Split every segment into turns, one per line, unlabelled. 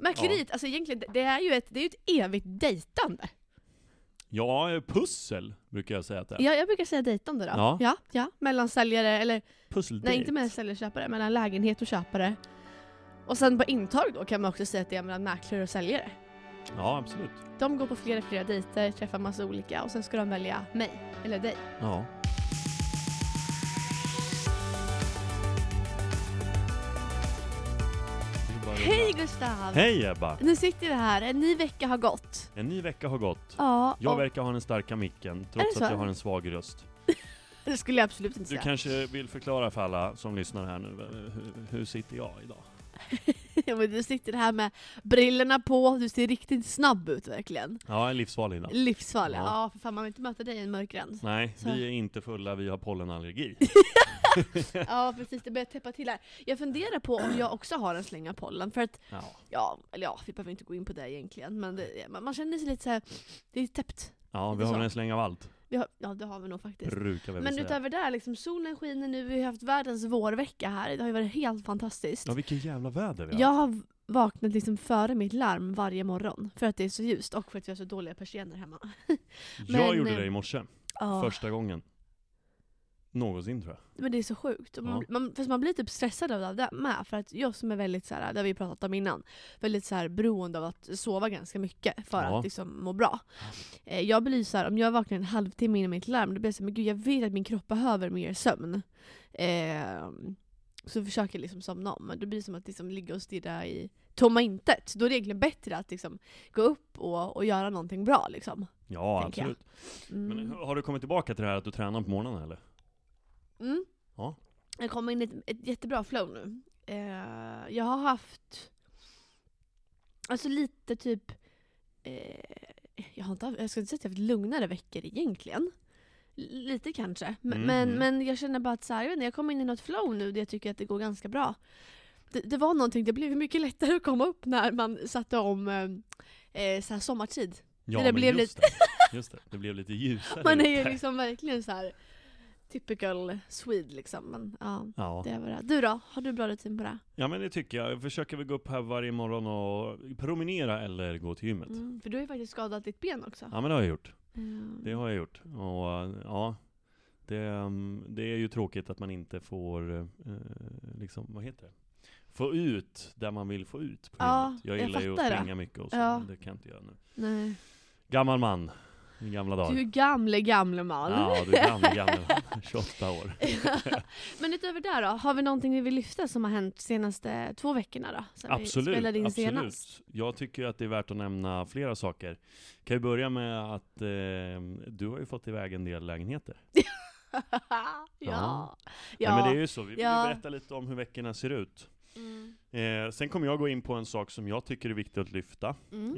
Marguerite, alltså egentligen, det- det är ju ett, det är ju ett evigt dejtande.
Ja, eh, pussel brukar jag säga att det är.
Ja, jag brukar säga dejtande då.
Ja.
ja, ja. Mellan säljare, eller
Pusseldate.
nej inte mellan säljare och köpare, mellan lägenhet och köpare. Och sen på intag då kan man också säga att det är mellan mäklare och säljare.
Ja, absolut.
De går på flera, flera dejter, träffar massa olika och sen ska de välja mig, eller dig.
Ja. Det är bara att
Hej
rulla.
Gustav!
Hej Ebba!
Nu sitter vi här, en ny vecka har gått.
En ny vecka har gått.
Ja,
Jag
och,
verkar ha den starka micken,
Är
trots
det
att
så?
jag har en svag röst.
det skulle jag absolut inte
Du
säga.
kanske vill förklara för alla som lyssnar här nu, eh, hur, hur sitter jag idag?
Ja, men du sitter här med brillorna på, du ser riktigt snabb ut verkligen.
Ja, jag är livsfarlig idag.
Livsfarlig.
Ja.
Ja. för fan man vill inte möta dig i en mörk gräns.
Nej,
Så.
vi är inte fulla, vi har pollenallergi.
Ja precis, det börjar täppa till här. Jag funderar på om jag också har en släng av pollen för att,
Ja.
ja, eller ja, vi behöver inte gå in på det egentligen men det, man, man känner sig lite så här. det är täppt.
Ja, vi
Lite
har väl
så.
en släng av allt,
Vi har, ja det har vi nog faktiskt.
brukar vi väl
Men
säga.
utöver det, liksom, solen skiner nu, vi har haft världens vårvecka här, det har ju varit helt fantastiskt.
Ja, vilket jävla väder vi har.
Jag har vaknat liksom före mitt larm varje morgon för att det är så ljust och för att vi har så dåliga persienner hemma.
jag
men,
gjorde
eh,
det i morse,
Ja.
första gången. Någonsin tror jag.
Men det är så sjukt. Och Man,
Ja.
man, fast man blir typ stressad av det med. För att jag som är väldigt så här, det har vi ju pratat om innan, väldigt så här beroende av att sova ganska mycket för
Ja.
att liksom må bra. Eh, jag blir så här, om jag vaknar en halvtimme innan mitt larm, då blir jag såhär, men gud jag vet att min kropp behöver mer sömn. Eh, så försöker jag liksom somna om, men då blir det som att liksom ligga och stirra i tomma intet. Då är det egentligen bättre att liksom gå upp och, och göra någonting bra liksom.
Ja,
Tänker jag.
absolut.
Mm.
Men eh, har du kommit tillbaka till det här att du tränar på morgonen eller?
Mm.
Ja.
Jag kom in i ett, ett jättebra flow nu. Eh, jag har haft, alltså lite typ, eh, jag, har inte haft, jag ska inte säga att jag har haft lugnare veckor egentligen. L- Lite kanske. Men,
Mm,
men,
mm.
men jag känner bara att så här, jag, vet inte, jag kom in i något flow nu där jag tycker att det går ganska bra. Det, det var någonting, det blev mycket lättare att komma upp när man satte om eh, eh, så här sommartid.
Ja,
det blev
just det. Just det, det blev lite ljusare
Man är ju
ute.
liksom verkligen så här typical Swede liksom. Men, ja.
Ja.
Det var det. Du då? Har du bra rutin på det?
ja, men det tycker jag. Jag försöker väl gå upp här varje morgon och promenera eller gå till gymmet.
Mm, för du har ju faktiskt skadat ditt ben också.
Ja, men det har jag gjort.
Mm.
Det har jag gjort. Och eh, ja, det, ehm, det är ju tråkigt att man inte får, eh, liksom, vad heter det? Få ut där man vill få ut på
Ja,
gymmet. Jag
jag
gillar ju att
fattar det.
springa mycket och så,
Ja.
men det kan jag inte göra nu.
Nej.
Gammal man, i gamla dagar.
Du är gamle, gamle man.
Ja, du är gammal, gammal. 28 år.
Men utöver det då, har vi någonting vi vill lyfta som har hänt senaste två veckorna då? Sen vi
Absolut,
spelade in
absolut.
senast.
Jag tycker att det är värt att nämna flera saker. Kan ju börja med att eh, du har ju fått iväg en del lägenheter.
ja.
Ja.
Ja.
Nej, men det är ju så, vi vill ju
Ja.
berätta lite om hur veckorna ser ut.
Mm.
Eh, sen kommer jag gå in på en sak som jag tycker är viktig att lyfta.
Mm.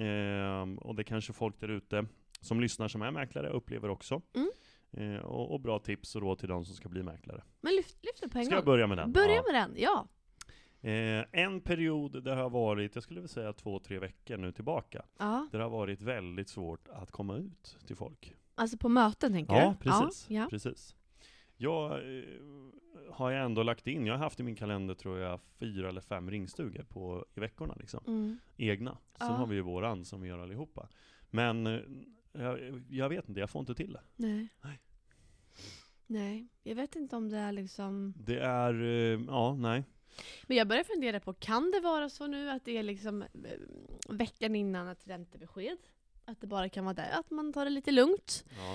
Eh, och det kanske folk där ute som lyssnar som är mäklare upplever också.
Mm.
Eh, och, och bra tips och råd till de som ska bli mäklare.
Men lyft, lyft det på en
Ska jag
gång.
börja med den?
Börja
Ja.
med den, ja.
Eh, en period det har varit, jag skulle vilja säga två, tre veckor nu tillbaka.
ja.
Det har varit väldigt svårt att komma ut till folk.
Alltså på möten tänker du?
Ja, precis.
Ja.
precis. Jag eh, har jag ändå lagt in, jag har haft i min kalender tror jag fyra eller fem ringstugor på, i veckorna. Liksom.
ja. Mm.
Egna. Sen
Ja.
har vi ju våran som vi gör allihopa. Men eh, jag, jag vet inte, jag får inte till det.
Nej.
Nej.
Nej, jag vet inte om det är liksom
Det är, eh, ja, nej.
Men jag börjar fundera på, kan det vara så nu att det är liksom eh, veckan innan ett räntebesked? Att det bara kan vara där, att man tar det lite lugnt.
Ja.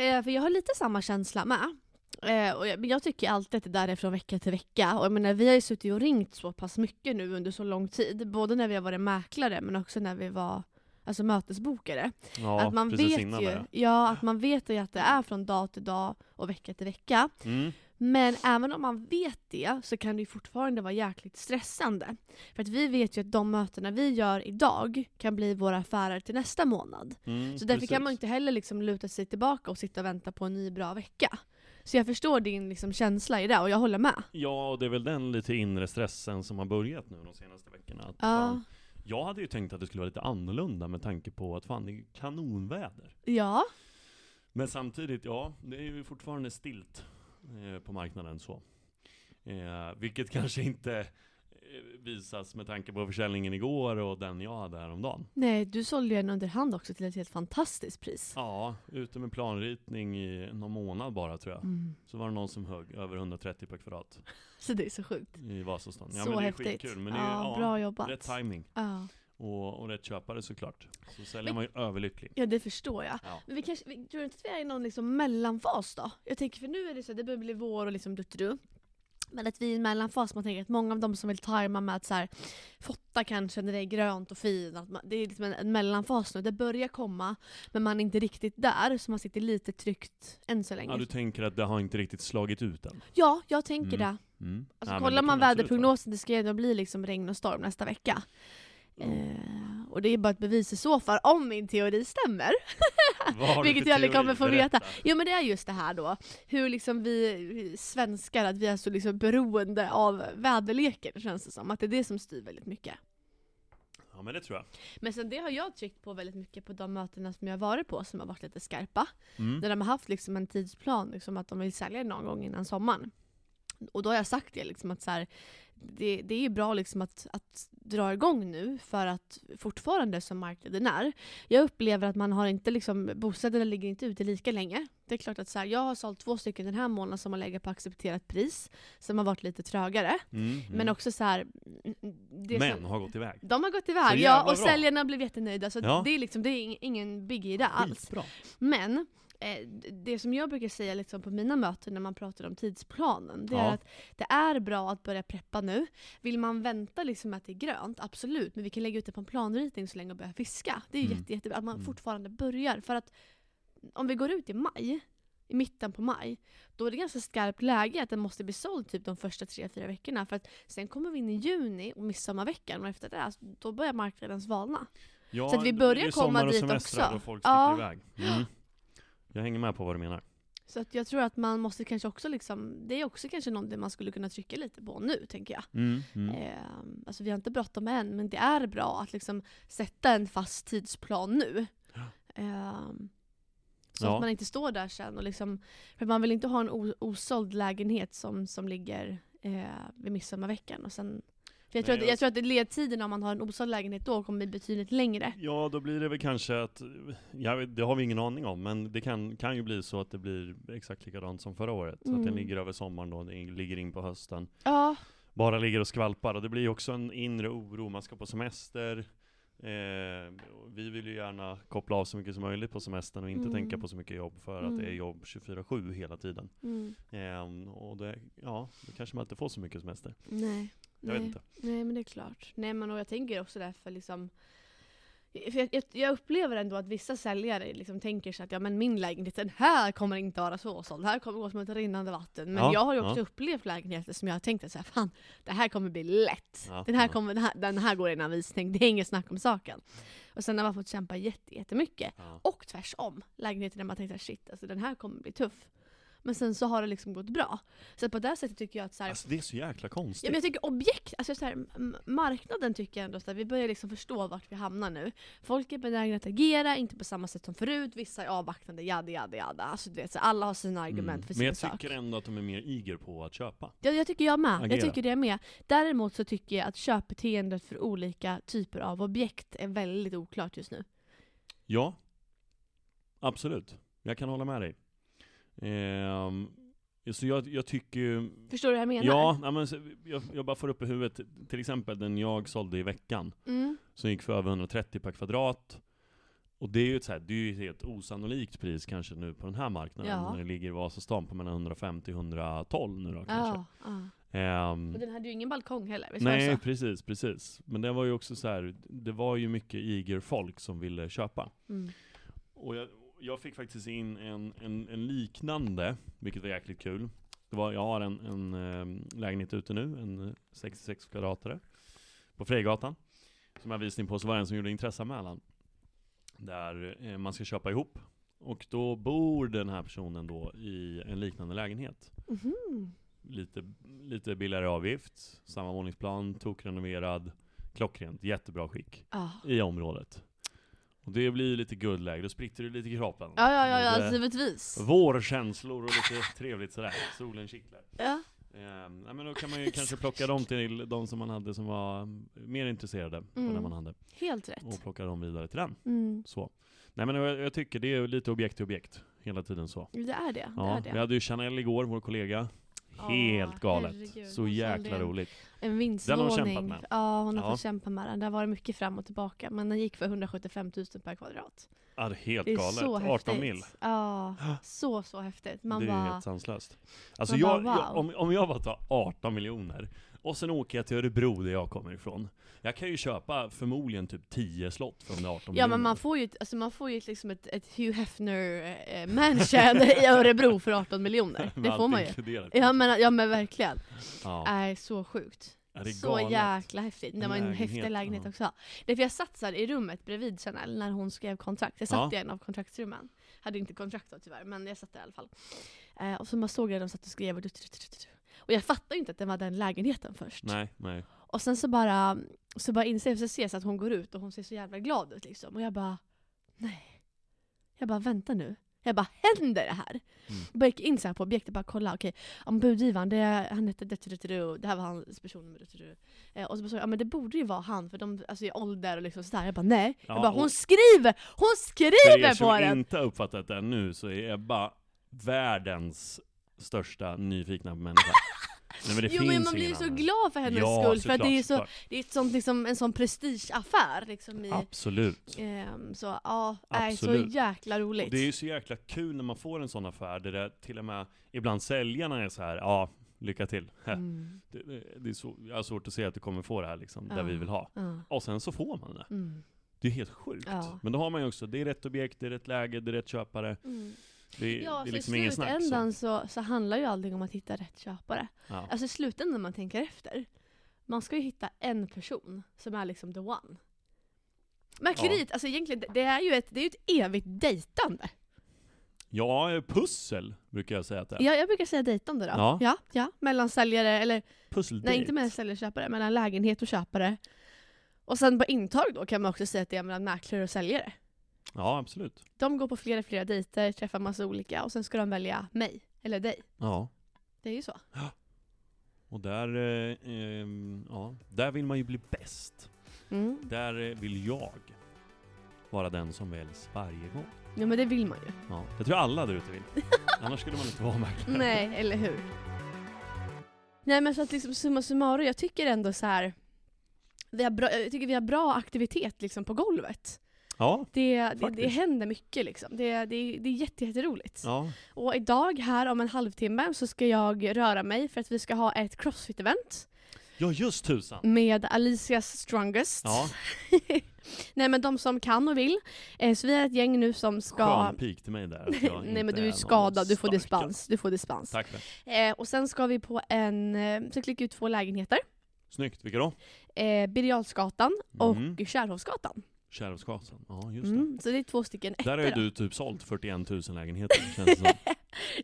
Eh, för jag har lite samma känsla med. Eh, och jag, men jag tycker alltid att det där är från vecka till vecka. Och jag menar, vi har ju suttit och ringt så pass mycket nu under så lång tid. Både när vi har varit mäklare men också när vi var alltså, mötesbokare.
Ja,
att man
precis
vet
innan
ju,
det.
ja, att man vet ju att det är från dag till dag och vecka till vecka.
Mm.
Men även om man vet det så kan det ju fortfarande vara jäkligt stressande. För att vi vet ju att de mötena vi gör idag kan bli våra affärer till nästa månad.
Mm,
Så därför
precis.
kan man inte heller liksom luta sig tillbaka och sitta och vänta på en ny bra vecka. Så jag förstår din liksom känsla i det och jag håller med.
Ja, och det är väl den lite inre stressen som har börjat nu de senaste veckorna. Att fan,
Ja,
Jag hade ju tänkt att det skulle vara lite annorlunda med tanke på att fan, det är kanonväder.
ja,
Men samtidigt, ja, det är ju fortfarande stilt eh, på marknaden så. Eh, vilket kanske inte eh, visas med tanke på försäljningen igår och den jag hade häromdagen.
Nej, du sålde ju en under hand också till ett helt fantastiskt pris.
Ja, ute med planritning i någon månad bara tror jag.
Mm.
Så var det någon som högg över 130 per kvadrat
Så det är så sjukt.
i Vasastan. Ja,
så
men det är
häftigt.
skitkul. Men det är,
ja,
ja,
bra jobbat.
Rätt timing
ja.
och, och rätt köpare såklart. Så
Men-
säljer man ju överlycklig.
ja, det förstår jag.
Ja.
Men vi kanske, vi, tror du inte att vi är i någon liksom mellanfas då? Jag tänker för nu är det så här, det börjar bli vår och liksom duttru. Men att vi är i en mellanfas, man tänker att många av de som vill tajma med att så här, fotta kanske när det är grönt och fint, att man, det är liksom en, en mellanfas nu. Det börjar komma, men man är inte riktigt där, så man sitter lite tryggt än så länge.
ja,
Ja,
du tänker att det har inte riktigt slagit ut än?
jag tänker
Mm.
det.
Mm.
Alltså,
Ja, men det
kollar
kan
man
absolut vara.
väderprognosen, det ska ju ändå bli liksom regn och storm nästa vecka.
Mm.
Eh, och det är bara ett bevis i så fall, om min teori stämmer.
Vad har du
Vilket
för
jag aldrig
teori?
kommer få
Berätta.
Jo men det är just det här då, hur liksom vi vi svenskar, att vi är så liksom beroende av väderleken känns det som. Att det är det som styr väldigt mycket.
Ja men det tror jag.
Men sen det har jag tryckt på väldigt mycket på de mötena som jag har varit på som har varit lite skarpa.
Mm.
Där de har haft liksom en tidsplan, liksom att de vill sälja någon gång innan sommaren. Och då har jag sagt det, liksom att så här, det, det är ju bra liksom att, att dra igång nu för att fortfarande som marknaden är. Jag upplever att man har inte liksom, bostäderna ligger inte ute lika länge. Det är klart att så här, jag har sålt två stycken den här månaden som har legat på accepterat pris, som har varit lite trögare.
Mm. Mm.
Men också så här, det som-
Men har gått iväg.
de har gått iväg,
Så
ja,
jävla
och
bra.
säljarna blev jättenöjda. Så
Ja.
det är liksom, det är ing- ingen biggie där alls.
Skitbra.
Men eh, d- det som jag brukar säga liksom på mina möten när man pratar om tidsplanen, det är
Ja.
att det är bra att börja preppa nu. Vill man vänta liksom att det är grönt, absolut, men vi kan lägga ut det på en planritning så länge och börja fiska. Det är ju
Mm.
jätte, jättebra att man
Mm.
fortfarande börjar. För att om vi går ut i maj, i mitten på maj, då är det ganska skarpt läge att den måste bli såld typ de första tre, fyra veckorna. För att sen kommer vi in i juni och midsommarveckan och efter det, alltså, då börjar marknaden svalna.
Ja,
Så att vi
det-
börjar
det är
komma
sommar och
dit
semestrar
också.
och folk
Ja.
sticker iväg. Mm. Jag hänger med på vad du menar.
Så att jag tror att man måste kanske också liksom, det är också kanske någonting man skulle kunna trycka lite på nu tänker jag.
Mm. Mm.
Ehm, alltså vi har inte bråttom än, men det är bra att liksom sätta en fast tidsplan nu.
Ja.
Ehm, så
Ja.
att man inte står där sen och liksom, för man vill inte ha en o- osåld lägenhet som, som ligger eh, vid midsommarveckan och sen för jag, tror
Nej, alltså-
att,
jag-
jag tror att ledtiden om man har en osåld lägenhet då kommer bli betydligt längre.
Ja, då blir det väl kanske att, jag vet, det har vi ingen aning om, men det kan, kan ju bli så att det blir exakt likadant som förra året. Att
Mm.
den ligger över sommaren då, den ligger in på hösten.
Ja,
Bara ligger och skvalpar, och det blir ju också en inre oro, man ska på semester. Eh, och vi vill ju gärna koppla av så mycket som möjligt på semestern och inte
Mm.
tänka på så mycket jobb, för att det är
Mm.
jobb 24-7 hela tiden.
mm.
Ehm, och det, ja, då kanske man inte får så mycket semester.
nej.
Jag
nej.
vet inte.
Nej men det är klart. Nej men och jag tänker också därför liksom för jag, jag, jag upplever ändå att vissa säljare liksom tänker sig att ja, men min lägenhet, den här kommer inte vara så såld. Det här kommer gå som ett rinnande vatten. Men
Ja,
jag har ju också
ja.
upplevt lägenheter som jag har tänkt att så här, fan, det här kommer bli lätt.
Ja,
den, här
ja.
kommer, den, här, den här går innan visning, det är inget snack om saken. Och sen har man fått kämpa jätte, jättemycket.
Ja.
Och tvärsom, lägenheter där man tänkte shit, alltså, den här kommer bli tuff. Men sen så har det liksom gått bra. Så på det här sättet tycker jag att så här,
Alltså det är så jäkla konstigt.
Ja, men jag tycker objekt, alltså så här, m- marknaden tycker jag ändå så här, vi börjar liksom förstå vart vi hamnar nu. Folk är benägna att agera, inte på samma sätt som förut, vissa är avvaktande, jada jada jada. Alltså du vet, så alla har sina argument
Mm.
för
Men
sin
jag
sak.
tycker ändå att de är mer iger på att köpa.
Ja, jag tycker jag med. Jag
Agera.
tycker det är med. Däremot så tycker jag att köpbeteendet för olika typer av objekt är väldigt oklart just nu.
Ja, absolut. Jag kan hålla med dig. Ehm, så jag, jag tycker ju...
Förstår du vad jag menar?
Ja, nej, men, så- jag, jag bara får upp i huvudet, till exempel den jag sålde i veckan,
Mm.
som gick för över 130 per kvadrat. Och det är ju ett, så här, det är ju ett helt osannolikt pris kanske nu på den här marknaden,
Ja.
när det ligger i Vasastan på mellan 150 och 112 nu då kanske.
Ja, ja.
Ehm,
Och den hade ju ingen balkong heller, visst var det
Nej,
så?
precis, precis. Men det var ju också så här, det var ju mycket iger folk som ville köpa.
Mm.
Och jag, jag fick faktiskt in en, en, en liknande, vilket var jäkligt kul. Det var, jag har en, en ehm, lägenhet ute nu, en eh, 66 kvadratare, på Frejgatan. Som jag visning på, så var det en som gjorde intresseanmälan. Där eh, man ska köpa ihop. Och då bor den här personen då i en liknande lägenhet
Mhm.
lite, lite billigare avgift, samma våningsplan, tokrenoverad, klockrent, jättebra skick
Ja.
i området. Och det blir ju lite guldläge, då spritter det lite i kroppen.
Ja, alltså- ja, ja, ja,
Lite
givetvis.
Vårkänslor och lite trevligt sådär, solen kittlar.
Ja.
Eh, nej, men då kan man ju kanske plocka dem till de som man hade som var mm, mer intresserade på
Mm.
den man hade.
Helt rätt.
Och plocka dem vidare till den.
Mm.
Så. Nej men jag, jag tycker det är lite objekt till objekt hela tiden så.
Det är det.
Ja,
det,
vi
är det.
hade ju Chanel igår, vår kollega.
Ja,
Helt galet.
herregud,
så
alltså,
jäkla
det-
roligt.
En
Den har
vinstvåning.
hon kämpat med.
Ja, hon har
Ja.
fått kämpa med den. Det har varit mycket fram och tillbaka. Men den gick för 175 000 per kvadrat.
Ja, det är helt
Det är
galet.
så
18
häftigt.
mil.
Ja, så så häftigt. Man
det är ju
bara...
helt sanslöst. Alltså
man
jag,
bara,
jag,
wow.
om, om jag bara tar 18 miljoner och sen åker jag till Örebro där jag kommer ifrån. Jag kan ju köpa förmodligen typ 10 slott för de där 18
Ja
miljonerna.
men man får ju, ett- alltså man får ju ett- liksom ett, ett Hugh Hefner eh, mansion i Örebro för 18 miljoner.
Med
Det får
allt
man ju.
inkluderat.
Ja men, ja, men verkligen.
Ja.
Är så sjukt.
Ja, det är
Så
galet.
jäkla häftigt. Det
En
var en
lägenhet,
häftig lägenhet
ja.
också. Det är för jag satt så här i rummet bredvid Chanel när hon skrev kontrakt. Jag satt
Ja.
i en av kontraktsrummen. Hade inte kontrakt då tyvärr, men jag satt där i alla fall. Eh, och så man såg jag de satt och skrev och du, du, du, du, du. Och jag fattade ju inte att det var den lägenheten först.
Nej, nej.
Och sen så bara, så bara inser jag, så ses att hon går ut och hon ser så jävla glad ut liksom. Och jag bara, nej. Jag bara, vänta nu. Jag bara, händer det här?
Mm.
Jag bara gick in så här på objektet och bara kolla, okej, om budgivaren, det, han hette Dutudutudu, det här var hans personnummer Dutudutudu. Eh, Och så bara såg jag, ja men det borde ju vara han för de, alltså i ålder och liksom sådär. Jag bara, nej.
Ja,
jag bara,
och-
hon skriver! Hon
För er
skriver på
som
den!
inte har uppfattat det ännu så är Ebba världens största nyfikna människa. Nej men det
Jo
finns
men man blir ju
ingen
så
annan.
glad för hennes
Ja,
skull, för att
såklart,
det är, så,
såklart.
det är ett sånt, liksom, en sån prestigeaffär liksom i,
Absolut.
Ehm, så ja, nej, så
Absolut.
jäkla
Och
roligt.
Det är ju så jäkla kul när man får en sån affär där det till och med ibland säljarna är så här, ja, lycka till.
Mm,
Det, det- det är så, jag har svårt att se att du kommer få det här liksom, där
Ja.
vi vill ha.
ja,
Och sen så får man det.
mm,
Det är helt sjukt.
Ja.
Men då har man ju också, det är rätt objekt, det är rätt läge, det är rätt köpare.
mm.
Det, är-
Ja,
det är
så
liksom
i
ingen snack. Så.
slutändan så, så handlar ju allting om att hitta rätt köpare.
Ja.
Alltså i slutändan när man tänker efter. Man ska ju hitta en person som är liksom the one. Mäkleriet, alltså egentligen, det- det är ju ett, det är ju ett evigt dejtande.
ja, pussel brukar jag säga att det är.
Ja, jag brukar säga dejtande då.
Ja.
ja, ja. Mellan säljare, eller
Pusseldate.
Nej, inte mellan säljare och köpare, mellan lägenhet och köpare. Och sen på intag då kan man också säga att det är mellan mäklare och säljare.
Ja, absolut.
De går på flera, flera dejter, träffar massa olika och sen ska de välja mig, eller dig.
Ja.
Det är ju så.
Och där, eh, ehm, ja, där vill man ju bli bäst.
Mm.
Där eh, vill jag vara den som väljs varje gång.
Ja men det vill man ju.
Ja, det tror jag alla där ute vill. Annars skulle man inte vara mäklare.
Nej, eller hur? Nej men så att liksom summa summarum, jag tycker ändå så här. Vi har bra, jag tycker vi har bra aktivitet liksom på golvet.
Ja,
Det, det, det
Faktiskt.
händer mycket liksom. Det, det, det är jätte- jätteroligt.
ja.
Och idag här om en halvtimme så ska jag röra mig för att vi ska ha ett crossfit-event
ja just tusan.
med Alicias Strongest.
Ja,
Nej men de som kan och vill. Eh, så vi är ett gäng nu som ska...
skön pik till mig där. att jag
Nej men
inte
du är
någon
skadad, du får
starkast.
dispens. Du får dispens.
Tack för det.
Eh, och sen ska vi på en... Eh, så klicka ut två lägenheter.
Snyggt, vilka då?
Eh, Birger Jarlsgatan och
Mm.
Kärrhovsgatan.
Kärrhovsgatan, ja just det.
Mm, så det är två stycken ettor.
Där har ju
då.
du typ sålt 41 000 lägenheter känns det som.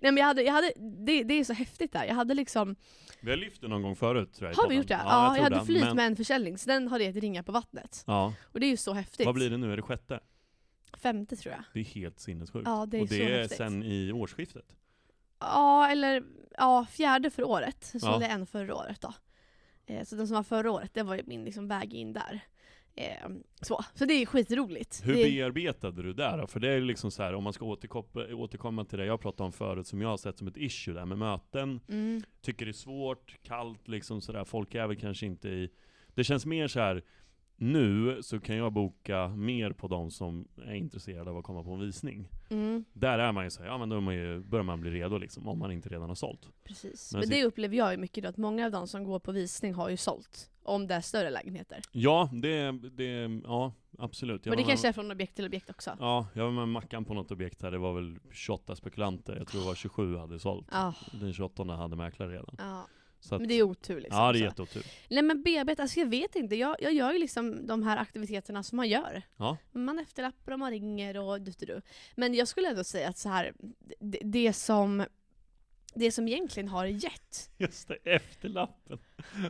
Nej men jag hade, jag hade det, det är så häftigt där. Jag hade liksom
Vi har lyft det någon gång förut tror jag. i
Har vi
podden.
gjort det? Ja,
Ja,
jag,
tror
hade
det,
flyt
men-
med en försäljning, så den har det ringa på vattnet.
Ja,
Och det är ju så häftigt.
vad blir det nu? Är det sjätte?
Femte tror jag.
Det är helt sinnessjukt.
Ja, det är
och
så
det är
häftigt.
sen i årsskiftet.
Ja, eller ja, fjärde för året. Så
Ja.
det är en förra året då. Eh, så den som var förra året, det var ju min liksom, väg in där. Eh, så. så det är skitroligt.
Hur
det...
bearbetade du det då? För det är ju liksom så här, om man ska återkoppla- återkomma till det jag pratade om förut, som jag har sett som ett issue där med möten.
Mm.
Tycker det är svårt, kallt liksom sådär. Folk är väl kanske inte i... Det känns mer så här. nu så kan jag boka mer på de som är intresserade av att komma på en visning.
Mm,
Där är man ju såhär, ja men då är man ju, börjar man bli redo liksom, om man inte redan har sålt.
precis.
Men
Men,
så-
det upplever jag ju mycket då, att många av de som går på visning har ju sålt. Om det är större lägenheter.
Ja, det, det ja absolut. Jag
Men det
var med-
kanske är från objekt till objekt också. Ja.
Ja, jag var med Mackan på något objekt här, det var väl 28 spekulanter, jag tror det var 27 hade sålt.
Ja.
Den 28 hade mäklare redan. Så att,
Men det är otur liksom.
ja, det är
så.
jätteotur.
Nej men bearbeta, alltså jag vet inte. Jag, jag gör ju liksom de här aktiviteterna som man gör.
Ja.
Man efterlappar och man ringer och du. Men jag skulle ändå säga att så här, det, det som det som egentligen har gett.
Just det, efterlappen.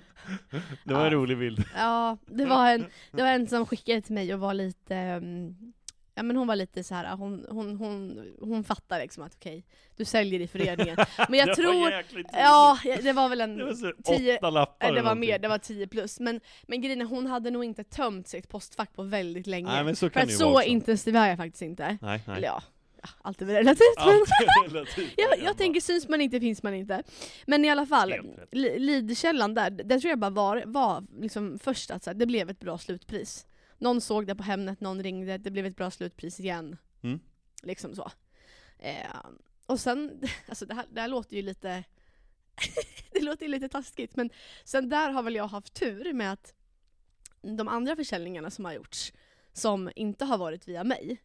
Det var en
Ja.
rolig bild.
Ja, det var en, det var en som skickade till mig och var lite, mm, Ja men hon var lite så här, hon, hon, hon, hon fattar liksom att okej, du säljer i föreningen. Men jag
Det var
tror,
jäkligt
ja det var väl
Det var
en,
så
tio-
åtta lappar
nej, det
eller
var mer,
någonting.
det var 10 plus. Men, men grejen är, hon hade nog inte tömt sitt postfack på väldigt länge.
Nej men så
För
kan det
att
ju
så
vara också.
intensiv är jag faktiskt inte.
Nej, nej.
Eller ja, ja, allt är väl relativt men.
Allt är relativt.
Jag,
Emma.
jag tänker syns man inte finns man inte. Men i alla fall,
Helt rätt.
li- Lidkällan där, den tror jag bara var, var liksom först att så här, det blev ett bra slutpris. Någon såg det på Hemnet, någon ringde, det blev ett bra slutpris igen.
Mm.
Liksom så. Eh, och sen, alltså det här, det här låter ju lite det låter ju lite taskigt men sen där har väl jag haft tur med att de andra försäljningarna som har gjorts, som inte har varit via mig,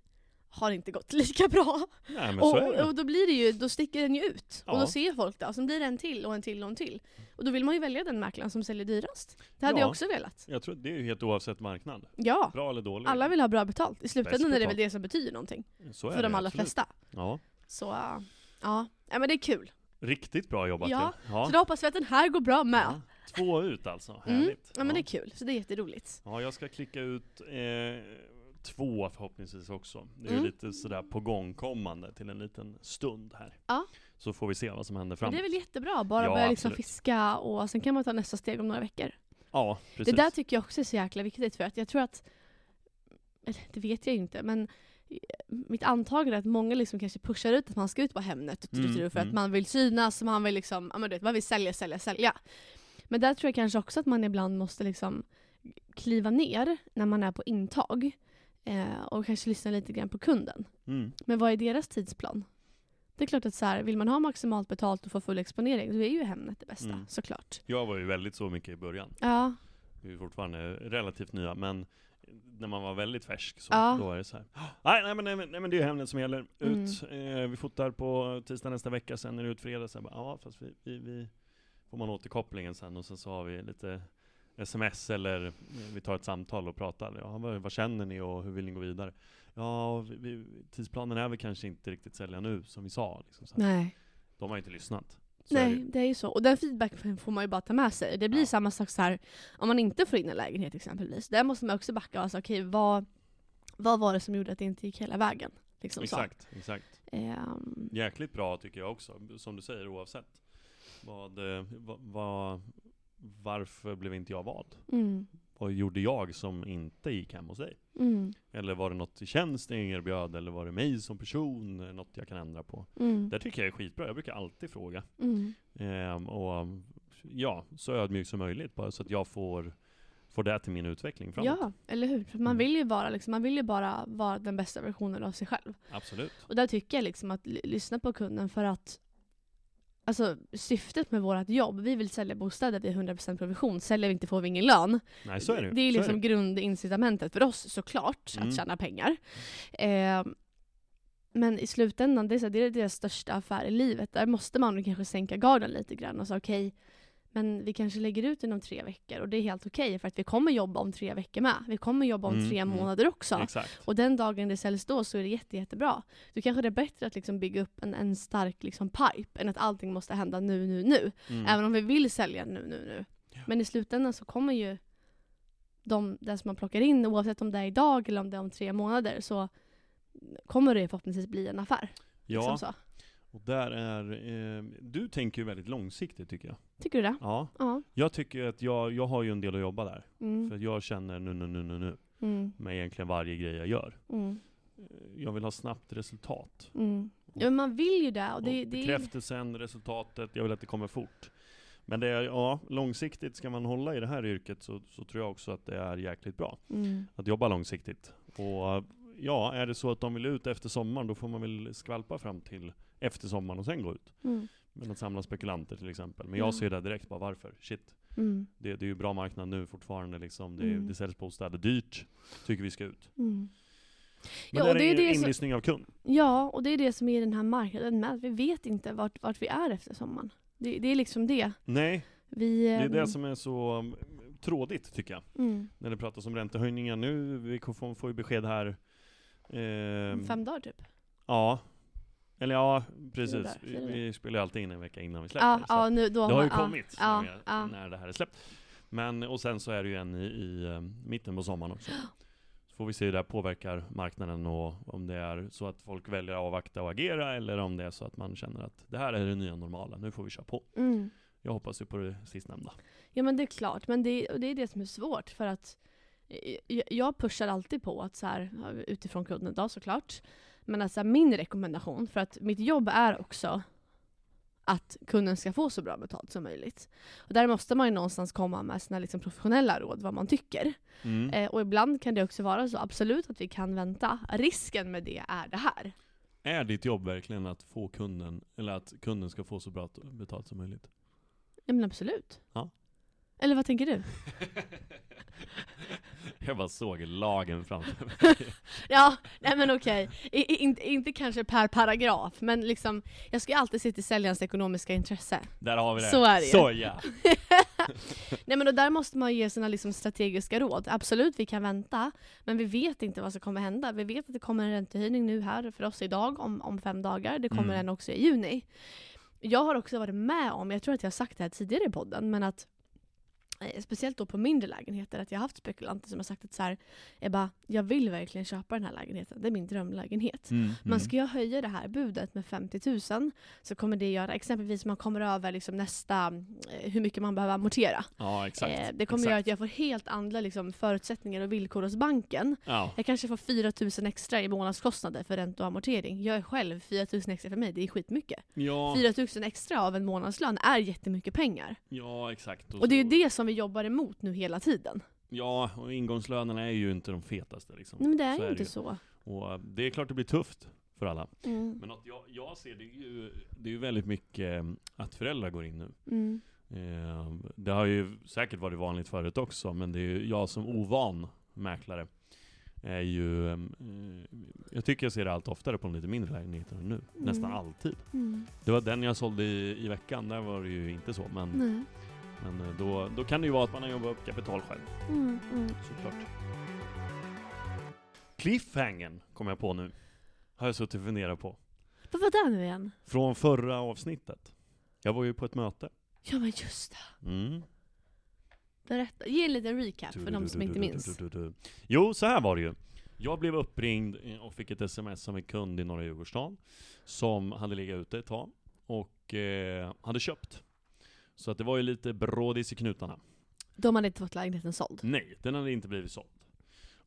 har inte gått lika bra.
Nej men så är
Och,
det.
och då blir det ju, då sticker den ju ut. Och
Ja.
då ser folk det. Och sen blir det en till och en till och en till. Och då vill man ju välja den mäklaren som säljer dyrast. Det hade
Ja.
jag också velat.
Jag tror det är ju helt oavsett marknad.
Ja.
Bra eller dålig.
Alla vill ha bra betalt. I slutändan är det väl
betalt.
det som betyder någonting.
så är
för de
det,
allra
absolut.
flesta.
Ja.
Så äh, ja, Nej, men det är kul.
Riktigt bra jobbat
Ja,
ju. ja.
Så då hoppas vi att den här går bra med.
Ja. Två ut alltså,
Mm.
härligt.
Ja men det är kul, så det är jätteroligt.
Ja, jag ska klicka ut eh, två förhoppningsvis också. Det är ju
Mm.
lite sådär på gång kommande till en liten stund här.
Ja.
Så får vi se vad som händer
Men
framåt.
det är väl jättebra, bara
Ja,
börja liksom
absolut.
fiska och sen kan man ta nästa steg om några veckor.
Ja, precis.
Det där tycker jag också är så jäkla viktigt för att jag tror att, eller det vet jag ju inte, men eh, mitt antagande är att många liksom kanske pushar ut att man ska ut på Hemnet och
Mm,
tututuru för
mm.
att man vill synas och man vill liksom, ja men du vet, man vill sälja, sälja, sälja. Men där tror jag kanske också att man ibland måste liksom kliva ner när man är på intag eh, och kanske lyssna lite grann på kunden.
mm.
Men vad är deras tidsplan? Det är klart att så här, vill man ha maximalt betalt och få full exponering, då är ju Hemnet det bästa,
Mm.
såklart.
Jag var ju väldigt så mycket i början.
Ja,
Vi är ju fortfarande relativt nya, men när man var väldigt färsk så
Ja. Mm.
då är det så här. Nej, nej, men, nej, men, nej men det är ju Hemnet som gäller. Ut. Eh, vi fotar på tisdag nästa vecka, sen är det ut fredag. Sen bara, ja, fast vi, vi, vi får man återkopplingen sen och sen så har vi lite sms eller eh, vi tar ett samtal och pratar. Ja, vad, vad känner ni och hur vill ni gå vidare? Ja, vi, vi, tidsplanen är väl kanske inte riktigt sälja nu som vi sa. Liksom, så här.
nej.
De har ju inte lyssnat. Så är det
Nej,
ju.
det är ju så. Och den feedbacken får man ju bara ta med sig. Det blir
Ja.
samma sak så här, om man inte får in en lägenhet exempelvis. Där måste man också backa och säga okej, vad, vad var det som gjorde att det inte gick hela vägen? Liksom
Exakt, exakt.
Så. Ehm,
Jäkligt bra tycker jag också, som du säger oavsett. Vad, eh, va, va, varför blev inte jag vald?
mm,
Vad gjorde jag som inte gick hem hos dig?
mm,
Eller var det något i tjänsten jag erbjöd? Eller var det mig som person? Är det Något jag kan ändra på?
mm,
Det tycker jag är skitbra, jag brukar alltid fråga.
mm,
Ehm, och ja, så ödmjuk som möjligt, bara så att jag får, får det till min utveckling framåt.
ja, eller hur? För man,
Mm.
vill ju vara, liksom, man vill ju bara vara den bästa versionen av sig själv.
Absolut.
Och där tycker jag liksom att l- lyssna på kunden för att Alltså syftet med vårt jobb, vi vill sälja bostäder vid 100% provision. Säljer vi inte får vi ingen lön.
Nej, så är det ju.
Det är
Så
liksom grundincitamentet för oss såklart,
Mm.
att tjäna pengar. Eh, men i slutändan, det är, så, här, det är deras största affär i livet. Där måste man kanske sänka garden lite grann och säga okej, men vi kanske lägger ut inom tre veckor och det är helt okej för att vi kommer jobba om tre veckor med. Vi kommer jobba om
Mm,
tre
mm.
månader också.
Exakt.
Och den dagen det säljs då så är det jätte, jättebra. Då kanske det är bättre att liksom bygga upp en, en stark liksom pipe än att allting måste hända nu, nu, nu.
Mm.
Även om vi vill sälja nu, nu, nu.
Ja.
Men i slutändan så kommer ju de, det som man plockar in, oavsett om det är idag eller om det är om tre månader, så kommer det förhoppningsvis bli en affär.
ja,
Liksom så.
och där är... Eh, du tänker ju väldigt långsiktigt tycker jag.
Tycker du det?
Ja.
Ja.
Jag tycker att jag, jag har ju en del att jobba där. För
Mm.
att jag känner nu, nu, nu, nu, nu
Mm.
med egentligen varje grej jag gör.
Mm.
Jag vill ha snabbt resultat.
Mm. Ja, men man vill ju det. Och
Och
det, det är...
bekräftelsen, resultatet, jag vill att det kommer fort. Men det är, ja, långsiktigt ska man hålla i det här yrket så, så tror jag också att det är jäkligt bra.
Mm.
Att jobba långsiktigt. Och ja, är det så att de vill ut efter sommaren, då får man väl skvalpa fram till efter sommaren och sen gå ut.
Mm.
Men att samla spekulanter till exempel. Men jag
Ja.
ser det direkt, bara varför? Shit,
Mm.
Det, det är ju bra marknad nu fortfarande liksom. Det,
Mm.
det säljs bostäder dyrt. Tycker vi ska ut.
Mm.
Men
Ja,
där
och det är
är
det
det
som-
inlyssning av kund.
Ja, och det är det som är i den här marknaden med. att Vi vet inte vart, vart vi är efter sommaren. Det, det är liksom det.
Nej,
Vi, ehm,
det är det som är så um, trådigt tycker jag.
Mm.
När det pratas om räntehöjningar nu. Vi ko- får, får ju besked här. Ehm,
Fem dagar typ.
Ja. Eller ja, precis.
dagar,
Vi,
fyra
vi spelar ju alltid in en vecka innan vi släpper.
Ja,
så
ja, nu, då
det har ju
man- ja,
kommit
Ja,
när,
ja.
eh, när det här är släppt. Men, och sen så är det ju en i, i um, mitten på sommaren också. Så får vi se hur det här påverkar marknaden och om det är så att folk väljer att avvakta och agera eller om det är så att man känner att det här är det nya normala, nu får vi köra på.
Mm.
Jag hoppas ju på det sistnämnda.
Ja men det är klart, men det, och det är det som är svårt för att eh, jag- jag pushar alltid på att så här, ja, utifrån kunden då såklart, men att så här, min rekommendation, för att mitt jobb är också att kunden ska få så bra betalt som möjligt. Och där måste man ju någonstans komma med sina liksom, professionella råd, vad man tycker.
Mm.
Eh, och ibland kan det också vara så, absolut att vi kan vänta. Risken med det är det här.
Är ditt jobb verkligen att få kunden, eller att kunden ska få så bra betalt som möjligt?
Ja men absolut.
Ja.
Eller vad tänker du?
Jag bara såg lagen framför mig.
Ja, nej men okej. I- i- Inte, inte kanske per paragraf, men liksom, jag ska ju alltid se till säljarens ekonomiska intresse.
Där har vi det.
Så är det ju.
Så ja.
Nej men och där måste man ge sina liksom, strategiska råd. Absolut, vi kan vänta, men vi vet inte vad som kommer hända. Vi vet att det kommer en räntehöjning nu här för oss idag om, om fem dagar. Det kommer
Mm.
en också i juni. Jag har också varit med om, jag tror att jag har sagt det här tidigare i podden, men att eh, Speciellt då på mindre lägenheter, att jag har haft spekulanter som har sagt att så här, Ebba, jag vill verkligen köpa den här lägenheten, det är min drömlägenhet.
Mm,
Men ska jag höja det här budet med 50 000 så kommer det göra, exempelvis man kommer över liksom nästa, eh, hur mycket man behöver amortera.
Ja, exakt.
Eh, det kommer
exakt.
göra att jag får helt andra liksom, förutsättningar och villkor hos banken.
Ja,
Jag kanske får 4 000 extra i månadskostnader för ränta och amortering. Jag är själv 4 000 extra för mig, det är skitmycket.
ja,
4 000 extra av en månadslön är jättemycket pengar.
ja exakt.
Och det är
så-
ju det som vi jobbar emot nu hela tiden.
Ja, och ingångslönerna är ju inte de fetaste liksom.
Nej, men det är
Så
ju
är det
inte
ju.
så.
Och eh, det är klart det blir tufft för alla.
Mm.
Men något jag, jag ser det är ju, det är ju väldigt mycket eh, att föräldrar går in nu.
Mm.
Eh, Det har ju säkert varit vanligt förut också, men det är ju jag som ovan mäklare är ju... eh, Jag tycker jag ser det allt oftare på de lite mindre lägenheterna nu. Nästan
Mm.
alltid.
Mm.
Det var den jag sålde i, i veckan, där var det ju inte så. Men,
Nej.
men eh, då, då kan det ju vara att man har jobbat upp kapital själv,
Mm. Mm.
såklart. Cliffhangern kom jag på nu. Har jag suttit och funderat på.
Vad var det nu igen?
Från förra avsnittet. Jag var ju på ett möte.
Ja men just det.
Mm.
Berätta, ge en liten recap för de som inte minns.
Jo, så här var det ju. Jag blev uppringd eh, och fick ett sms av en kund i norra Djurgårdsstaden som hade legat ute ett tag och eh, hade köpt. Så att det var ju lite brådis i knutarna.
De hade inte fått lägenheten såld.
Nej, den hade inte blivit såld.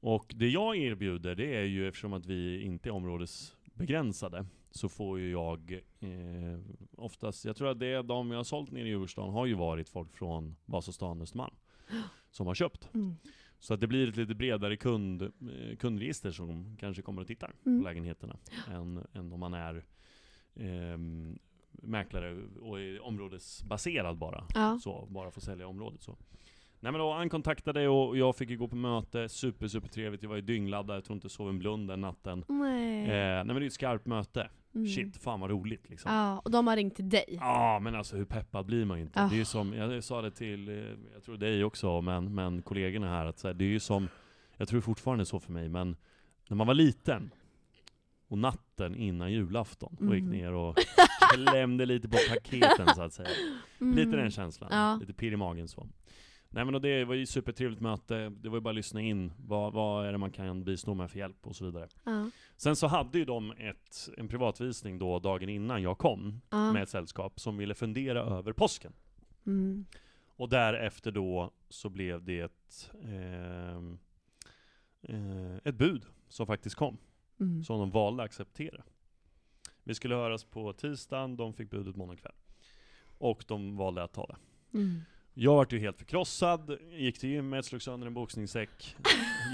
Och det jag erbjuder, det är ju eftersom att vi inte är områdesbegränsade, så får ju jag eh, oftast, jag tror att det är de jag har sålt nere i Djurgårdsstaden har ju varit folk från Vasastan, Östermalm, som har köpt.
Mm.
Så att det blir ett lite bredare kund, eh, kundregister som kanske kommer och tittar
Mm.
på lägenheterna. Än, än om man är ehm, mäklare och är områdesbaserad bara.
Ja.
Så, bara får sälja i området så. Nej men då, han kontaktade och jag fick ju gå på möte, super super trevligt. Jag var ju dyngladdad, jag tror inte jag sov en blund den natten. Eh,
Nej.
nej men det är ju ett skarpt möte.
Mm.
Shit, fan vad roligt liksom.
Ja, och de har ringt till dig.
Ja, men alltså hur peppad blir man ju inte?
Ah.
Det är ju som, jag sa det till, eh, jag tror dig också, men, men kollegorna här, att så här, det är ju som, jag tror fortfarande så för mig, men när man var liten, och natten innan julafton, och gick
Mm.
ner och klämde lite på paketen så att säga.
Mm.
Lite den känslan,
Ja.
lite pirr i magen så. Nej men och det var ju ett supertrevligt möte, det var ju bara att lyssna in, vad, vad är det man kan bistå med för hjälp och så vidare.
Ja.
Sen så hade ju de ett, en privatvisning då dagen innan jag kom,
Ja.
med ett sällskap som ville fundera över påsken.
Mm.
Och därefter då så blev det ett, ehm, eh, ett bud som faktiskt kom,
Mm.
som de valde att acceptera. Vi skulle höras på tisdagen, de fick budet måndag kväll. Och de valde att ta det.
Mm.
Jag vart ju helt förkrossad, gick till gymmet, slog sönder en boxningssäck,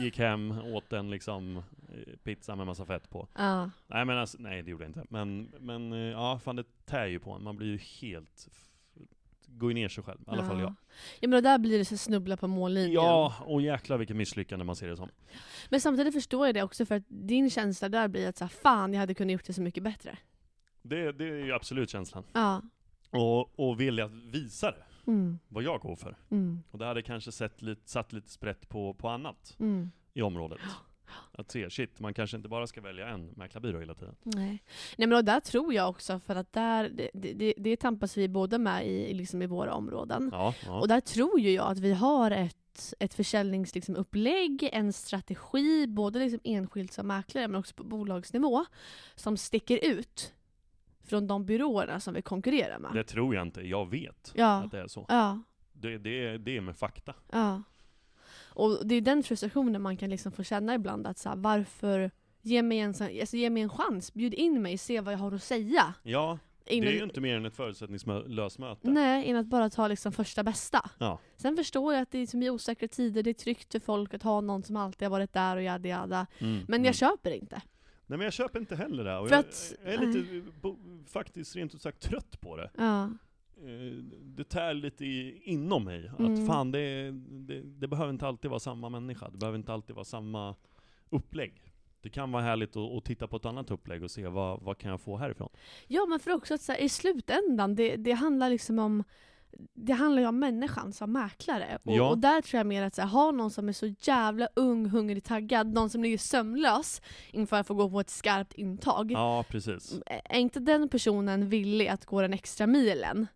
gick hem, åt en liksom eh, pizza med massa fett på.
Ja.
Nej men alltså, nej det gjorde jag inte. Men, men eh, ja fan det tär ju på en. Man blir ju helt, f- går ju ner sig själv. I alla fall jag.
Ja men då där blir det så snubbla på mållinjen.
Ja, och jäklar vilket misslyckande man ser det som.
Men samtidigt förstår jag det också för att din känsla där blir att så här, fan jag hade kunnat gjort det så mycket bättre.
Det, det är ju absolut känslan.
Ja.
Och, och vilja att visa det,
Mm.
vad jag går för.
Mm.
Och det hade kanske sett lite, satt lite sprätt på, på annat
Mm.
i området. Att se, shit, man kanske inte bara ska välja en mäklarbyrå hela tiden.
Nej. Nej men och där tror jag också för att där, det, det- det, det tampas vi båda med i, liksom i våra områden.
Ja,
Och
ja.
där tror ju jag att vi har ett ett, ett försäljningsupplägg, liksom, upplägg, en strategi, både liksom enskilt som mäklare men också på bolagsnivå, som sticker ut från de byråerna som vi konkurrerar med.
Det tror jag inte, jag vet
ja,
att det är så.
ja,
Det, det, det är med fakta.
ja. Och det är den frustrationen man kan liksom få känna ibland, att så här, varför Ge mig, en, sån- alltså ge mig en chans, bjud in mig, se vad jag har att säga.
Ja,
Innan,
det är ju inte mer än ett förutsättningslöst möte.
Nej, än att bara ta liksom första bästa.
Ja.
Sen förstår jag att det är som i osäkra tider, det är tryggt för folk att ha någon som alltid har varit där och jada jada.
Mm,
Men
mm.
jag köper inte.
Nej men jag köper inte heller det här. Och
För
jag,
att- eh,
jag är lite, bo, faktiskt rent ut sagt trött på det.
Ja.
Eh, Det tär lite i, inom mig.
Mm.
Att fan, det, det, det behöver inte alltid vara samma människa. Det behöver inte alltid vara samma upplägg. Det kan vara härligt att, att titta på ett annat upplägg och se vad, vad kan jag få härifrån.
ja, men för också att så här, i slutändan, det, det handlar liksom om det handlar ju om människan som mäklare. Och,
Ja.
och där tror jag mer att så här, ha någon som är så jävla ung, hungrig, taggad, någon som ligger sömnlös inför att få gå på ett skarpt intag.
Ja, precis.
Är inte den personen villig att gå den extra milen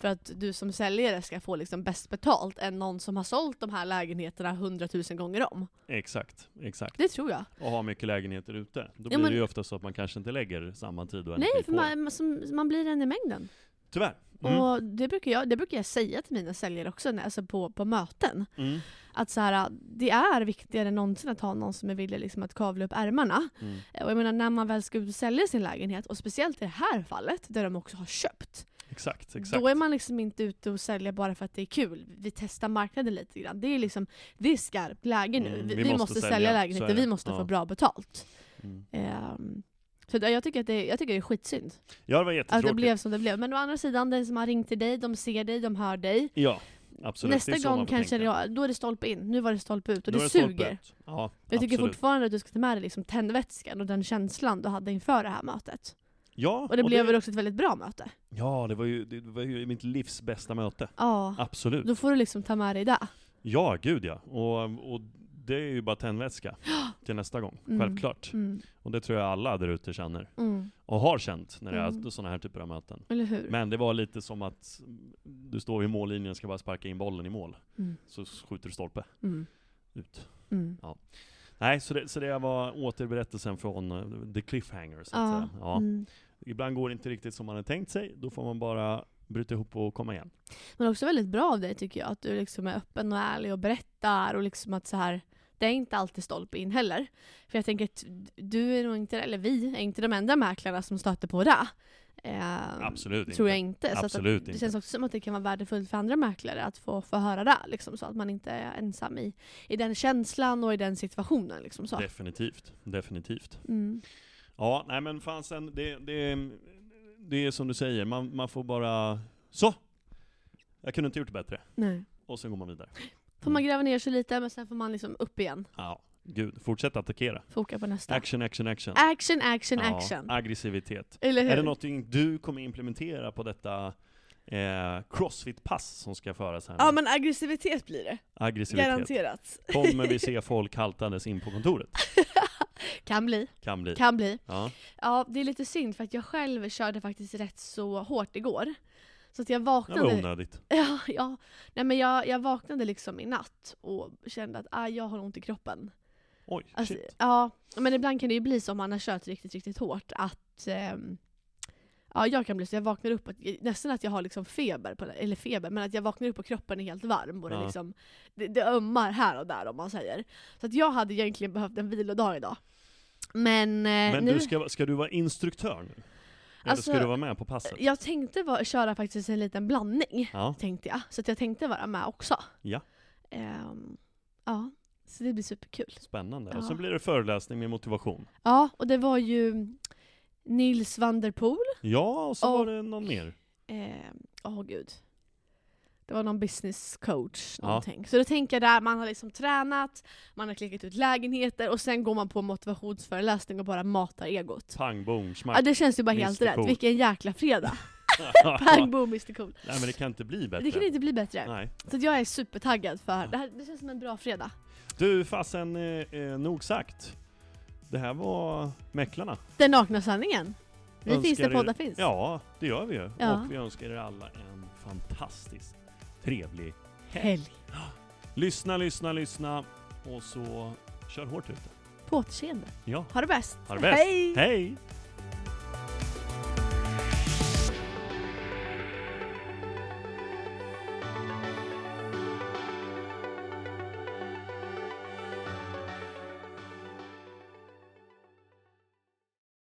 för att du som säljare ska få liksom bäst betalt än någon som har sålt de här lägenheterna hundratusen gånger om?
Exakt, exakt.
Det tror jag.
Och ha mycket lägenheter ute. Då blir
men-
det ju ofta så att man kanske inte lägger samma tid och
Nej,
energi
för
på
man,
det.
man, som, man blir en i mängden.
Tyvärr. Mm.
Och det brukar, jag, det brukar jag säga till mina säljare också när, alltså på, på möten.
Mm.
Att så här, det är viktigare än någonsin att ha någon som är villig liksom att kavla upp ärmarna.
Mm.
Och jag menar när man väl ska ut och sälja sin lägenhet, och speciellt i det här fallet där de också har köpt.
Exakt, exakt.
Då är man liksom inte ute och säljer bara för att det är kul. Vi testar marknaden lite grann. Det är liksom, det är skarpt läge nu.
Mm,
vi, vi måste, sälja,
så
lägenheter,
är det.
vi måste
Ja.
få bra betalt.
Mm.
Ehm, så det- jag tycker, att det, jag tycker det är skitsynd
Ja, det var
att
jättetråkigt.
Alltså, det blev som det blev. Men å andra sidan, den som har ringt till dig, de ser dig, de hör dig.
Ja, absolut. Det är så
Nästa gång
man får
kanske
tänka.
det, då är det stolpe in, nu var det stolpe ut och
Då är
det
stolpe
suger.
ut. Ja,
Jag tycker
absolut.
fortfarande att du ska ta med dig liksom tändvätskan och den känslan du hade inför det här mötet.
Ja,
Och det blev väl också ett väldigt bra möte?
Ja, det var, ju, det var ju mitt livs bästa möte.
Ja.
Absolut.
Då får du liksom ta med dig det.
Ja, gud ja. Och, och det är ju bara tändvätska till nästa gång.
Mm.
Självklart.
Mm.
Och det tror jag alla där ute känner.
Mm.
Och har känt när det är
Mm.
sådana här typer av möten.
Eller hur?
Men det var lite som att du står vid mållinjen och ska bara sparka in bollen i mål.
Mm.
Så skjuter du stolpe
Mm.
ut.
Mm.
Nej, så det, så det var återberättelsen från eh, The Cliffhanger, så att
Ja.
säga. Ja.
Mm.
Ibland går det inte riktigt som man hade tänkt sig. Då får man bara bryta ihop och komma igen.
Men också väldigt bra av dig tycker jag, att du liksom är öppen och ärlig och berättar och liksom att så här det är inte alltid stolpe in heller. För jag tänker att du är nog inte, eller vi, är inte de enda mäklarna som stöter på det. Eh,
Absolut
tror
inte.
jag inte. Så
Absolut
att, det
inte.
känns också som att det kan vara värdefullt för andra mäklare att få, få höra det, liksom, så att man inte är ensam i, i den känslan och i den situationen. Liksom, så.
Definitivt, definitivt.
Mm.
Ja, nej men fan sen, det, det, det är som du säger, man, man får bara, så! Jag kunde inte gjort det bättre.
Nej.
Och sen går man vidare.
Får
Mm.
man gräva ner sig lite, men sen får man liksom upp igen.
Ja, gud, fortsätt attackera.
Foka på nästa.
Action, action, action.
Action, action,
Ja,
action.
aggressivitet.
Eller hur?
Är det någonting du kommer implementera på detta eh, crossfit-pass som ska föras här nu?
Ja men aggressivitet blir det.
Aggressivitet.
Garanterat.
Kommer vi se folk haltandes in på kontoret?
Kan bli.
Kan bli.
Kan bli.
Ja.
Ja det är lite synd för att jag själv körde faktiskt rätt så hårt igår. Så att jag
Det var
vaknade.
onödigt.
Ja, ja. Nej men jag, jag vaknade liksom i natt och kände att ah, jag har ont i kroppen.
Oj,
Alltså,
shit.
ja, men ibland kan det ju bli så om man har kört riktigt, riktigt hårt att ehm, Ja, jag kan bli så. Jag vaknar upp, och, nästan att jag har liksom feber, på, eller feber, men att jag vaknar upp och kroppen är helt varm. Och det,
Ja.
liksom, det, det ömmar här och där om man säger. Så att jag hade egentligen behövt en vilodag idag. Men, eh,
Men
nu,
du ska, ska du vara instruktör nu? Eller
Alltså-
ska du vara med på passet?
jag tänkte va- köra faktiskt en liten blandning,
Ja.
tänkte jag. Så att jag tänkte vara med också.
Ja.
Ehm, ja, så det blir superkul.
Spännande.
Ja.
Och sen blir det föreläsning med motivation.
Ja, och det var ju Nils van der Poel
Ja, och så var
Och-
det någon mer.
Åh eh, åh, gud. Det var någon business coach.
Ja.
Någonting. Så då tänker jag där, man har liksom tränat, man har klickat ut lägenheter och sen går man på motivationsföreläsning och bara matar egot.
Pang, boom,
Ja,
smack.
det känns ju bara helt
Mr.
rätt.
Cool.
Vilken jäkla fredag. Pang boom Mr Cool.
Nej men det kan inte bli bättre.
Det kan inte bli bättre.
Nej.
Så att jag är supertaggad för det här. Det känns som en bra fredag.
Du fasen, eh, eh, nog sagt. Det här var Mäcklarna.
Den nakna sanningen. Vi
Önskar
finns där
er-
poddar finns.
Ja, det gör vi ju.
Ja.
Och vi önskar er alla en fantastiskt trevlig helg.
Helg.
Lyssna, lyssna, lyssna och så kör hårt ute.
På återseende.
Ja,
Ha det bäst!
ha det bäst.
Hej!
Hej!